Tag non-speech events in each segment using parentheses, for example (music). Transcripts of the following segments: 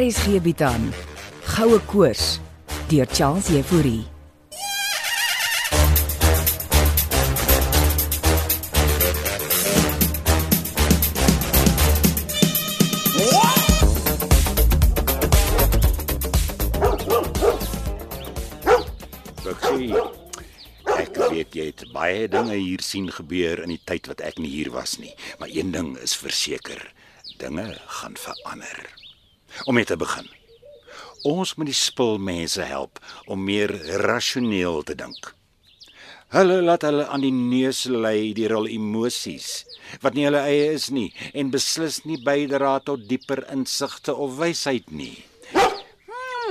RSG bied aan Goue Koors deur Charles Euphorie. Bixie. Ek weet jy het baie dinge hier sien gebeur in die tyd wat ek nie hier was nie, maar een ding is verseker, dinge gaan verander. Om mee te begin. Ons moet die spulmense help om meer rasioneel te dink. Hulle laat hulle aan die neus lei deur hul emosies wat nie hulle eie is nie en beslis nie bydra tot dieper insigte of wysheid nie.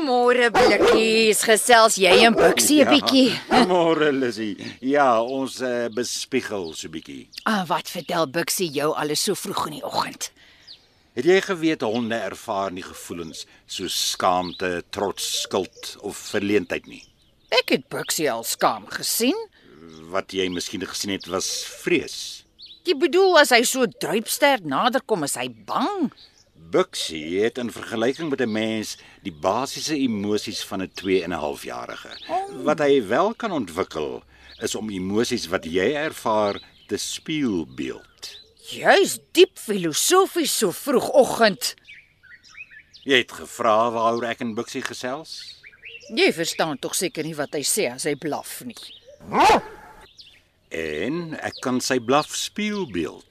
Môre blikkies, gesels jy en Bixie 'n bietjie. Ja, Môre Lissy. Ja, ons uh, bespiegel so bietjie. Ah, wat vertel Bixie jou alles so vroeg in die oggend? Het jy geweet honde ervaar nie gevoelens soos skaamte, trots, skuld of verleentheid nie? Ek het Bixie al skaam gesien. Wat jy miskien gesien het was vrees. Jy bedoel as hy so druipster naderkom, is hy bang? Buxie het in vergelyking met 'n mens die basiese emosies van 'n 2 en 'n halfjarige. Wat hy wel kan ontwikkel is om emosies wat jy ervaar te spieelbeeld. Jy's diep filosofies so vroegoggend. Jy het gevra waaroor ek en Buxie gesels? Jy verstaan tog seker nie wat hy sê as hy blaf nie. En ek kan sy blaf spieelbeeld.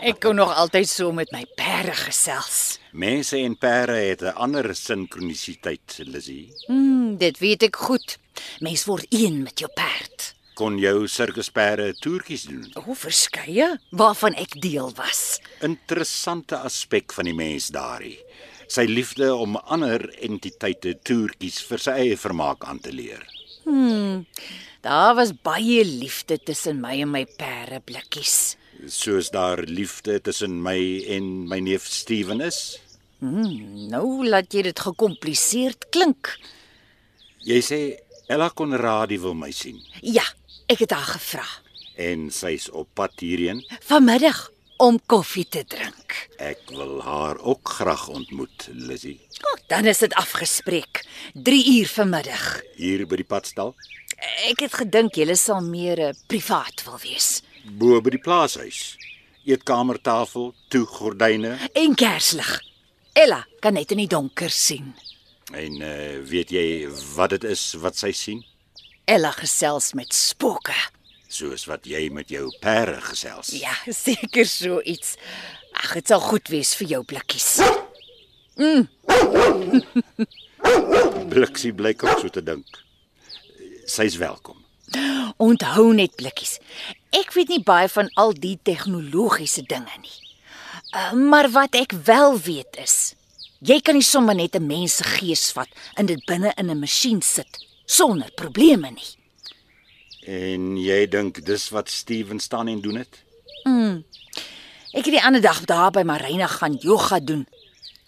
Ek kon nog altyd so met my perde gesels. Mense en perde het 'n ander sinkronisiteit, Lizzy. Mm, dit weet ek goed. Mens word een met jou perd. Kon jou sirkusperde toertjies doen. Hoe verskeie waarvan ek deel was. Interessante aspek van die mens daardie. Sy liefde om ander entiteite toertjies vir sy eie vermaak aan te leer. Daar was baie liefde tussen my en my perde blikkies. Soos daar liefde tussen my en my neef Steven is. Nou laat jy dit gekompliseerd klink. Jy sê Ella Conradie wil my sien Ja, ek het haar gevra en sy's op pad hierheen. vanmiddag om koffie te drink. Ek wil haar ook graag ontmoet, Lizzy. Oh, dan is dit afgespreek. 3 uur vanmiddag. Hier by die padstal, Ek het gedink julle sal meer eh, privaat wil wees. bo by die plaashuis. Eetkamertafel, toe gordyne En kerslig. Ella kan net in die donker sien. en uh, weet jy wat dit is wat sy sien? Ella gesels met spooke. Soos wat jy met jou perde gesels. Ja, seker so iets. Ag, dit sal goed wees vir jou blikkies. Bliksie blyk ook so te dink. Sy's welkom. Onthou net blikkies. Ek weet nie baie van al die tegnologiese dinge nie. Uh, maar wat ek wel weet is, jy kan nie sommer net 'n mens se gees vat en dit binne in 'n masjien sit sonder probleme nie. En jy dink dis wat Steven staan en doen dit? Ek het die ander dag daar by Marina gaan yoga doen.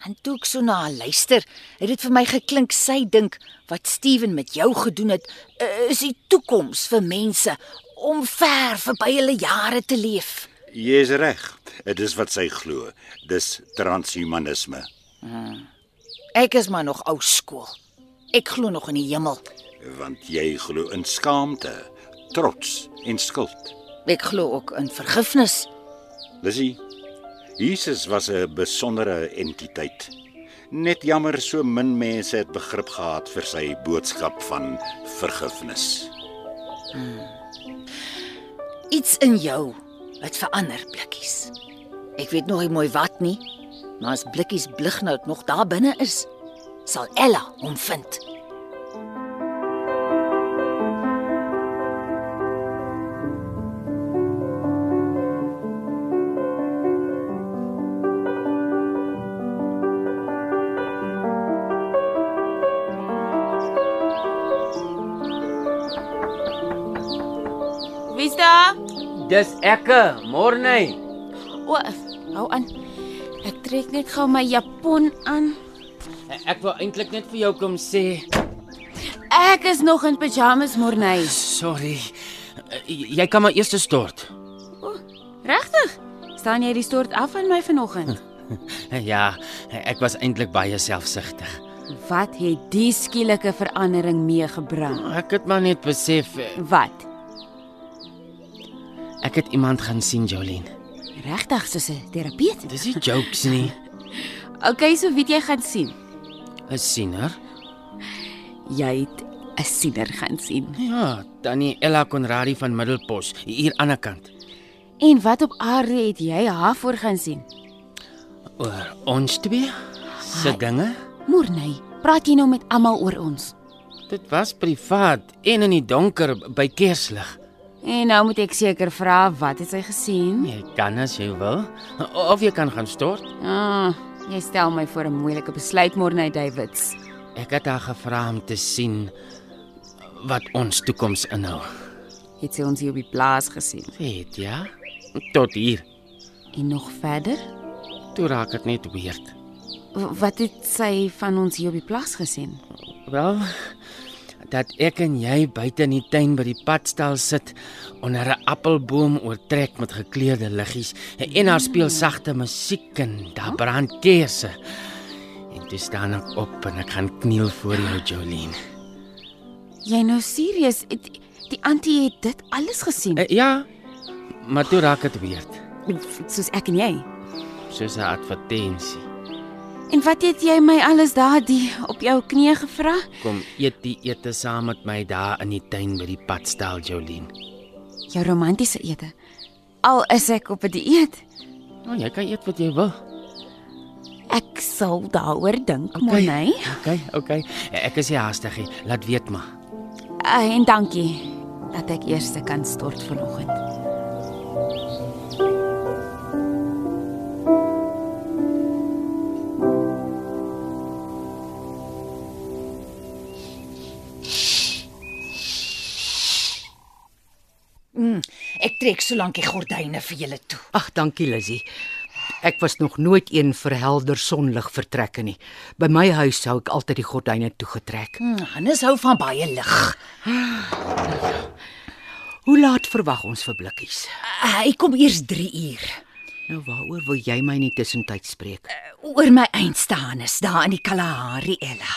En toe ek so na haar luister, het dit vir my geklink sy dink wat Steven met jou gedoen het, uh, is die toekoms vir mense om ver verby hulle jare te leef. Jy's reg. Dit is wat sy glo. Dis transhumanisme. Ek is maar nog ou skool. Ek glo nog in die hemel. Want jy glo in skaamte, trots en skuld. Ek glo ook in vergifnis. Lissy, Jesus was 'n besondere entiteit. Net jammer so min mense het begrip gehad vir sy boodskap van vergifnis. Iets in jou het verander, blikkies. Ek weet nog nie mooi wat nie, maar as blikkies blignout nog daar binne is, sal Ella hom vind. Wie's daar? Dis ekke, Morney. O, hou aan. Ek trek net gou my japon aan. Eh, Ek wou eintlik net vir jou kom sê, Ek is nog in pyjamas môrney. sorry. eh, J- Jy kan maar eers stort. (laughs) Regtig? Staan jy die stort af aan my vanoggend? Ja, ek was eintlik baie selfsugtig. Wat het die skielike verandering meegebring? Ek het maar net besef eh, Wat? ek het iemand gaan sien, Jolene. Regtig soos 'n terapeut? Dis nie jokes (laughs) nie. Okay, so weet jy gaan sien. 'n Siener? Jy het 'n siener gaan sien. Ja, tannie Ella Conradi van Middelpos, hier aan die kant. En wat op aarde het jy haar voor gaan sien? Oor ons twee se dinge. Morney, praat jy nou met almal oor ons? Dit was privaat en in die donker by kerslig. En nou moet ek seker vra wat het sy gesien? Jy kan as jy wil of jy kan gaan stort. Ah, jy stel my voor 'n moeilike besluit, Morney Davids. Ek het haar gevra om te sien wat ons toekoms inhou. Het sy ons hier op die plaas gesien? Weet ja, tot hier. En nog verder? Toe raak dit net weird. W- Wat het sy van ons hier op die plaas gesien? Wel, dat ek en jy buite in die tuin by die padstal sit onder 'n appelboom oortrek met gekleurde liggies en daar speel sagte musiek en daar brand kersse. En toe staan ek op en ek gaan kniel voor jou, Jolene. Jy nou serieus? Het- Die antie het dit alles gesien, Eh, ja, maar toe raak dit weird, Eh, mm, soos ek en jy. soos 'n advertensie. En wat het jy my alles daardie op jou knie gevra? Kom eet die ete saam met my daar in die tuin by die padstal, Jolene. Jou romantiese ete. Al is ek op 'n dieet, Nou, jy kan eet wat jy wil. ek sal daaroor dink, okay. Monay. Okay, okay. Ek is nie haastig nie. Laat weet maar. Uh, en dankie dat ek eers kan stort vanoggend. Ek trek solank die gordyne vir julle toe. Ag, dankie Lizzy. Ek was nog nooit een vir helder sonlig vertrekke nie. By my huis sou ek altyd die gordyne toegetrek. Hm, Hannes hou van baie lig. Hoe laat verwag ons vir blikkies? Uh, hy kom eers 3 uur Nou waaroor wil jy my nie tussentyd spreek? oor my einste Hannes daar in die Kalahari Ella.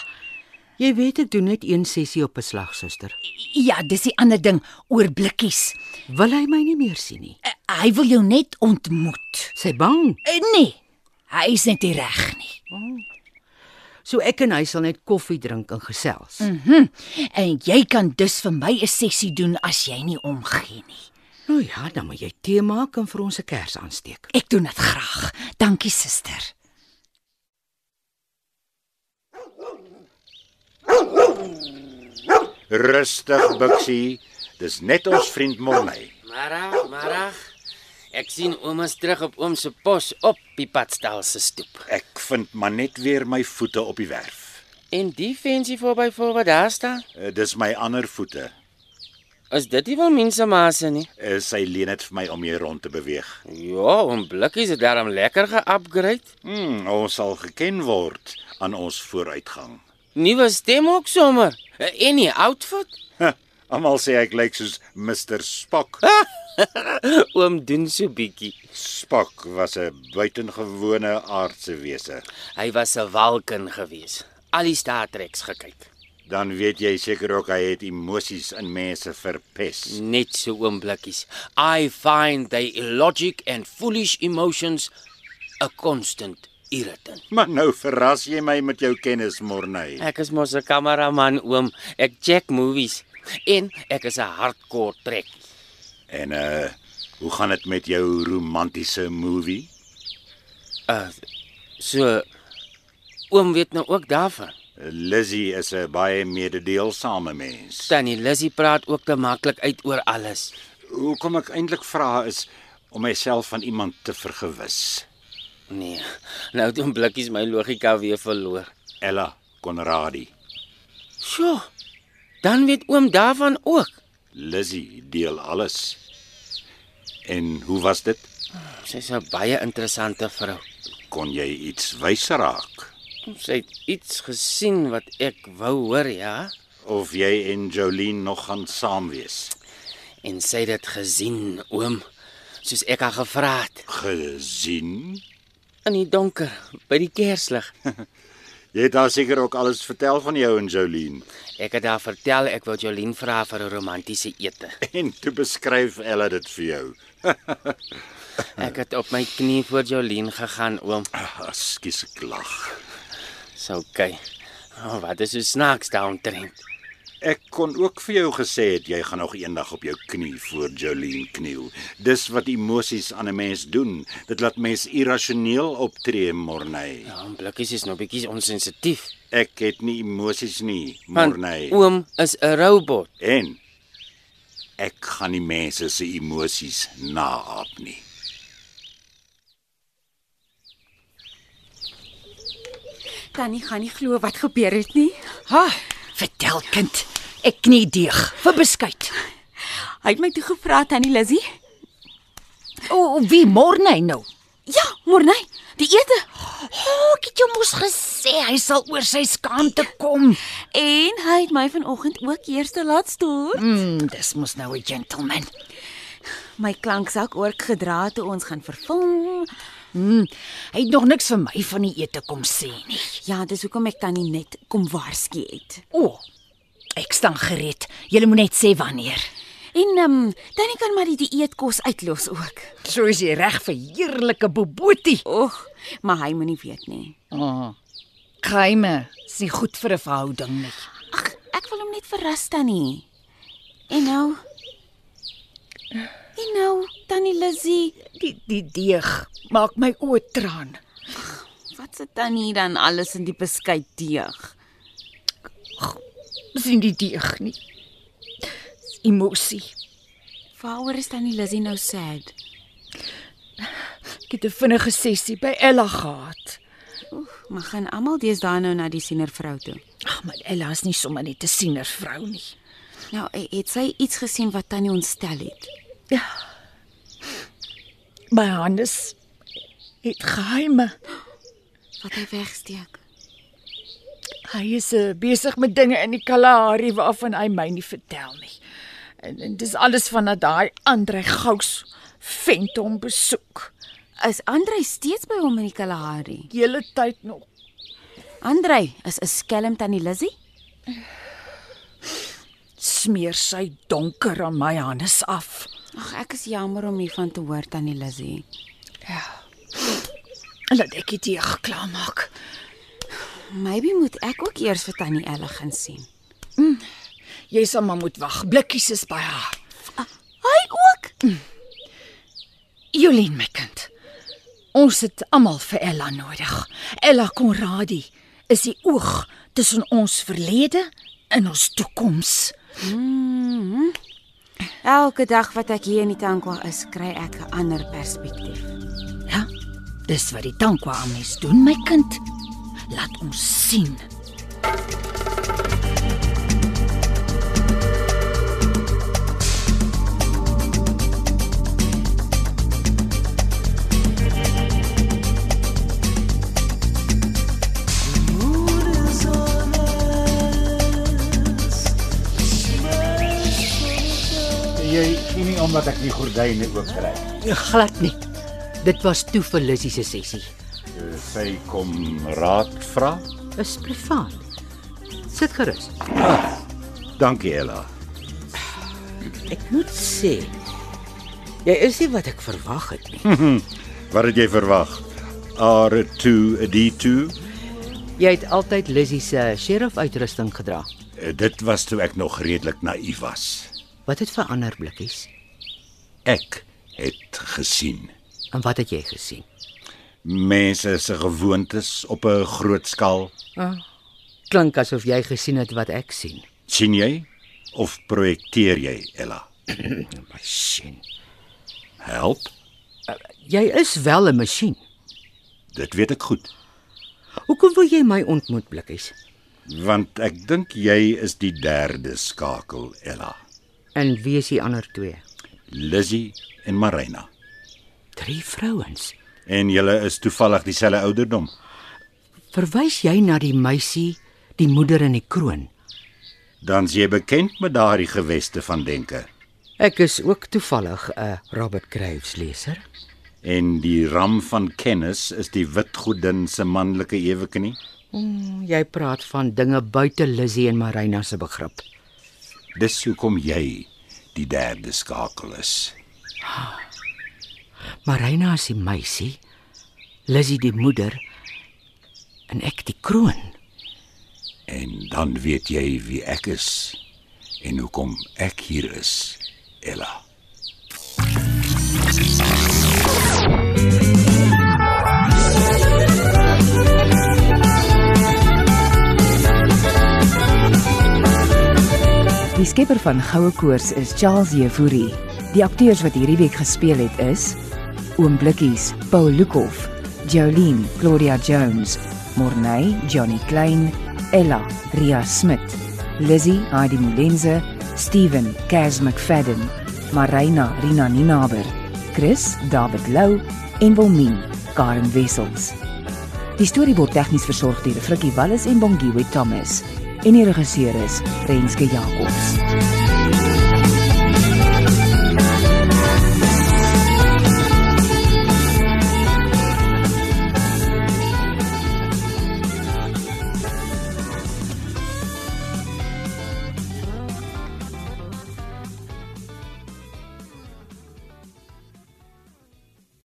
Jy weet ek doen net een sessie op 'n slag, suster. Ja, dis die ander ding oor blikkies. Wil hy my nie meer sien nie? Uh, hy wil jou net ontmoet. Sy bang. Uh, nee, hy is net nie reg nie. So ek en hy sal net koffie drink en gesels. Mm. En jy kan dus vir my 'n sessie doen as jy nie omgee nie. Nou ja, dan moet jy tee maak en vir ons 'n kers aansteek. Ek doen dit graag. Dankie suster. Rustig, Bixie. Dis net ons vriend Morney. Marag, marag. Ek sien ouma's terug op oom se pos op die padstal se stoep. Ek vind maar net weer my voete op die werf. En die fensie voorby voor wat daar staan, Eh, Dis my ander voete. is dit nie wel mense mase nie? Eh, Sy leen dit vir my om hier rond te beweeg. Ja, oom Blikkies het daarom lekker ge-upgrade. Hmm, ons sal geken word aan ons vooruitgang. Nuwe stem ook sommer. En die outfit? Huh, Almal sê ek lyk soos Mr Spock. Oom doen so bietjie. Spock was 'n buitengewone aardse wese. Hy was 'n walkin gewees. Al die Star Treks gekyk. Dan weet jy seker ook hy het emosies in mense verpes. Net so oom Blikkies. I find the illogic and foolish emotions a constant irritant. Maar nou verras jy my met jou kennis, Morney. Ek is mos 'n kameraman oom. Ek check movies en ek is 'n hardcore trek. En uh, hoe gaan dit met jou romantiese movie? Uh so oom weet nou ook daarvan. Lizzy is 'n baie mededeelsame mens. Tannie Lizzie praat ook te maklik uit oor alles. Hoekom ek eintlik vra is om myself van iemand te vergewis. Nee. Nou het oom Blikkies my logika weer verloor. Ella Conradi. Sjoe. Dan weet oom daarvan ook. Lizzy deel alles. En hoe was dit? Sy's 'n baie interessante vrou. Kon jy iets wys raak? Sy het iets gesien wat ek wou hoor, ja. Of jy en Jolene nog gaan saam wees? En sy het dit gesien, oom, soos ek haar gevra het. Gesien? in die donker by die kerslig. Jy het haar seker ook alles vertel van jou en Jolene. Ek het haar vertel ek wou Jolien vra vir 'n romantiese ete. (laughs) En toe beskryf Ella dit vir jou. Ek het op my knie voor Jolien gegaan, oom. Ah, Ekskuus ek lag. Dis okay. Oh, wat is so snaaks daaromtrent? Ek kon ook vir jou gesê het jy gaan nog eendag op jou knie voor Jolene kniel. Dis wat emosies aan 'n mens doen. Dit laat mens irrasioneel optree, Morney. Ja, blikkies is nou bietjie onsensitief. Ek het nie emosies nie, Want Morney. oom is 'n robot. En ek gaan nie mense se emosies naaap nie. Tannie gaan nie glo wat gebeur het nie. Ha, vertel kind. Ek knie deeg vir beskuit. Hy het my toe gevra tannie Lizzy. O, wie môre hy nou? Ja, Morney, die ete. O, ek het jou mos gesê hy sal oor sy skaamte kom. En hy het my vanoggend ook eers te laat stoor. Mm, dis mos nou 'n gentleman. My klanksak oork gedra toe ons gaan vervul. Mm, hy het nog niks vir my van die ete kom sê nie. Ja, dis hoekom ek tannie net kom waarsku het. O, ek staan gereed. Jy moet net sê wanneer. En ehm um, tannie kan maar die dieet kos uitlos ook. So is jy reg vir heerlike bobotie. Oeg, maar hy moenie weet nie. Oh, kruime, is nie goed vir 'n verhouding nie. Ag, ek wil hom net verras tannie. En nou En nou, tannie Lizzy, Die die deeg maak my oë traan. wat se tannie dan alles in die beskuit deeg? Dis nie die deeg nie. Dis emosie. Waaroor is tannie Lizzy nou sad? Ek het 'n vinnige sessie by Ella gehad. Maar gaan almal deesdae nou na die sienervrou toe. Ag, maar Ella is nie sommer net 'n siener vrou nie. Nou, he- het sy iets gesien wat tannie ontstel het? My Hannes het geheime. Wat hy wegsteek. Hy is uh, besig met dinge in die Kalahari waarvan hy my nie vertel nie. En, en dis alles vandat daai Andre Gous vent hom besoek. Is Andrei steeds by hom in die Kalahari? Die hele tyd nog. Andrei is 'n skelm tannie Lizzy? smeer sy donker aan my Hannes af. Ag, ek is jammer om hiervan te hoor tannie Lizzy. Laat ek dit hier klaarmaak. Maybe moet ek ook eers vir tannie Elle gaan sien. Jy sal maar moet wag. Blikkies is by haar. Hy ook. Jolien my kind. Ons het almal vir Ella nodig. Ella Konradi is die oog tussen ons verlede en ons toekoms. Elke dag wat ek hier in die tankwa is, kry ek 'n ander perspektief. Ja? Dis wat die tankwa aan mens doen, my kind. Laat ons sien. Jy sien nie omdat ek die gordyne oopkry. Nee, Glad nie. Dit was toe vir Lissy se sessie. Eh, Sy kom raad vra. Is privaat. Sit gerus. Dankie Ella. Ek moet sê jy is nie wat ek verwag het nie. Wat het jy verwag? R2 D2 Jy het altyd Lissy se sheriff uitrusting gedra. Eh, Dit was toe ek nog redelik naïef was. Wat het verander blikkies? Ek het gesien En wat het jy gesien? mense se gewoontes op 'n groot skaal. Klink asof jy gesien het wat ek sien. sien jy of projekteer jy, Ella? My sien. Help? Jy is wel 'n masjien. Dit weet ek goed, Hoekom wil jy my ontmoet blikkies? want ek dink jy is die derde skakel, Ella. En wie is die ander twee? Lizzy en Marina. Drie vrouens. En julle is toevallig dieselfde ouderdom. Verwys jy na die meisie, die moeder in die kroon? Dan s'jy bekend met daardie geweste van denke. Ek is ook toevallig 'n Robert Graves leser. En die ram van kennis is die wit godin se manlike eweknie. Mm, jy praat van dinge buite Lizzie en Marina se begrip. Dis hoekom jy die derde skakel is. Marina is die meisie, Lizzie die moeder en ek die kroon. En dan weet jy wie ek is en hoekom ek hier is, Ella. Die skepper van Goue Koors is Charles Jefouri. Die akteurs wat hierdie week gespeel het is: Oom Blikkies, Paul Lukhof, Jolene, Claudia Jones, Morney, Johnny Klein, Ella, Ria Smit, Lizzie, Heidi Molenze, Steven, Cas McFadden, Marina, Rina Ninaber, Chris, David Lou en Wilmien, Karen Wessels. Die storie word tegnies versorg deur Frikkie Wallis en Bongwe Thomas en die regisseur is Renske Jacobs.